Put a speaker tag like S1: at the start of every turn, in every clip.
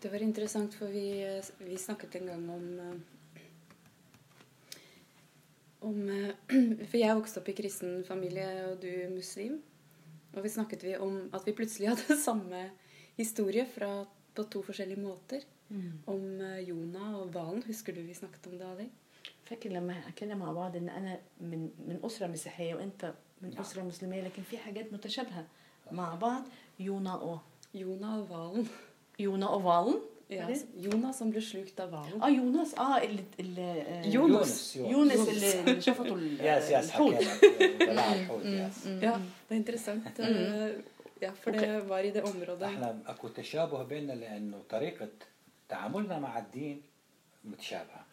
S1: Det var interessant, for vi, eh, vi snakket en gang om eh, om eh, For jeg vokste opp i kristen familie, og du muslim. Og vi snakket vi om at vi plutselig hadde samme historie fra, på to forskjellige måter. Om eh, Jonah og hvalen. Husker du vi snakket om det, Ali?
S2: فاكر لما حكينا مع بعض ان انا من من اسره مسيحيه وانت من اسره مسلميه لكن في حاجات متشابهه مع بعض يونا او
S1: Jonah og hvalen.
S2: يونا او فالن
S1: Ja,
S2: Er det?
S1: så- Jonah som ble slukt av hvalen.
S2: اه يوناس اه اللي اللي آه،
S1: يونس.
S2: يونس اللي اللي شفطوا ال-
S3: يس يس
S2: الحوت
S3: حكينا بلع الحوت يس
S1: Ja, det er interessant. eh, Ja, for det var i det området.
S3: احنا اكو تشابه بيننا لانه طريقه تعاملنا مع الدين متشابهه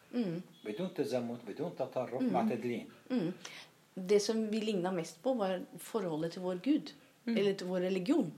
S3: بدون تزمت بدون تطرف معتدلين
S2: Mm. Det som vi ligna mest på, var forholdet til vår Gud. Eller til vår religion.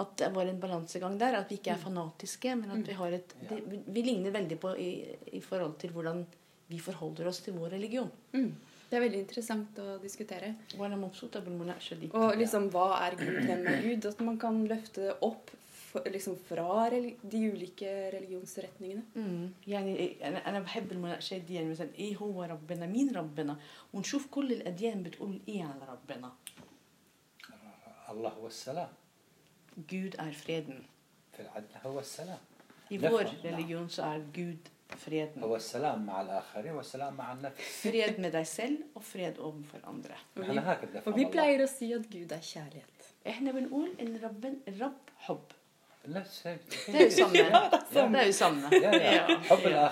S2: At det var en balansegang der. At vi ikke er fanatiske, men at vi har et
S3: Ja.
S2: det, Vi ligner veldig på i, i forhold til hvordan vi forholder oss til vår religion.
S1: Mm. Det er veldig interessant å diskutere.
S2: وأنا مبسوطة بالمناقشة دي.
S1: Og liksom, hva er Gud, hvem er Gud? At man kan løfte det opp f- liksom, fra reli- de ulike religionsretningene.
S2: مم. يعني انا انا بحب المناقشات دي يعني مثلا ايه هو ربنا؟ مين ربنا؟ ونشوف كل الاديان بتقول ايه على ربنا؟
S3: الله هو السلام
S2: Gud er freden.
S3: في العدل هو السلام
S2: I
S3: نفهم.
S2: vår
S3: نعم.
S2: religion så er Gud freden.
S3: هو السلام مع الاخرين والسلام مع النفس
S2: Fred med deg selv og fred overfor andre.
S1: Og
S3: احنا
S1: vi,
S3: هكذا
S1: og
S3: نفهم
S1: vi
S3: الله
S1: pleier å si at Gud er kjærlighet.
S2: Ehne بنقول ان ربنا الرب حب
S3: نفس
S2: Det er jo samme.
S3: Ja,
S2: Det er jo samme.
S3: Ja, ja.
S2: Ja.
S3: حب
S2: Ja.
S3: الاخر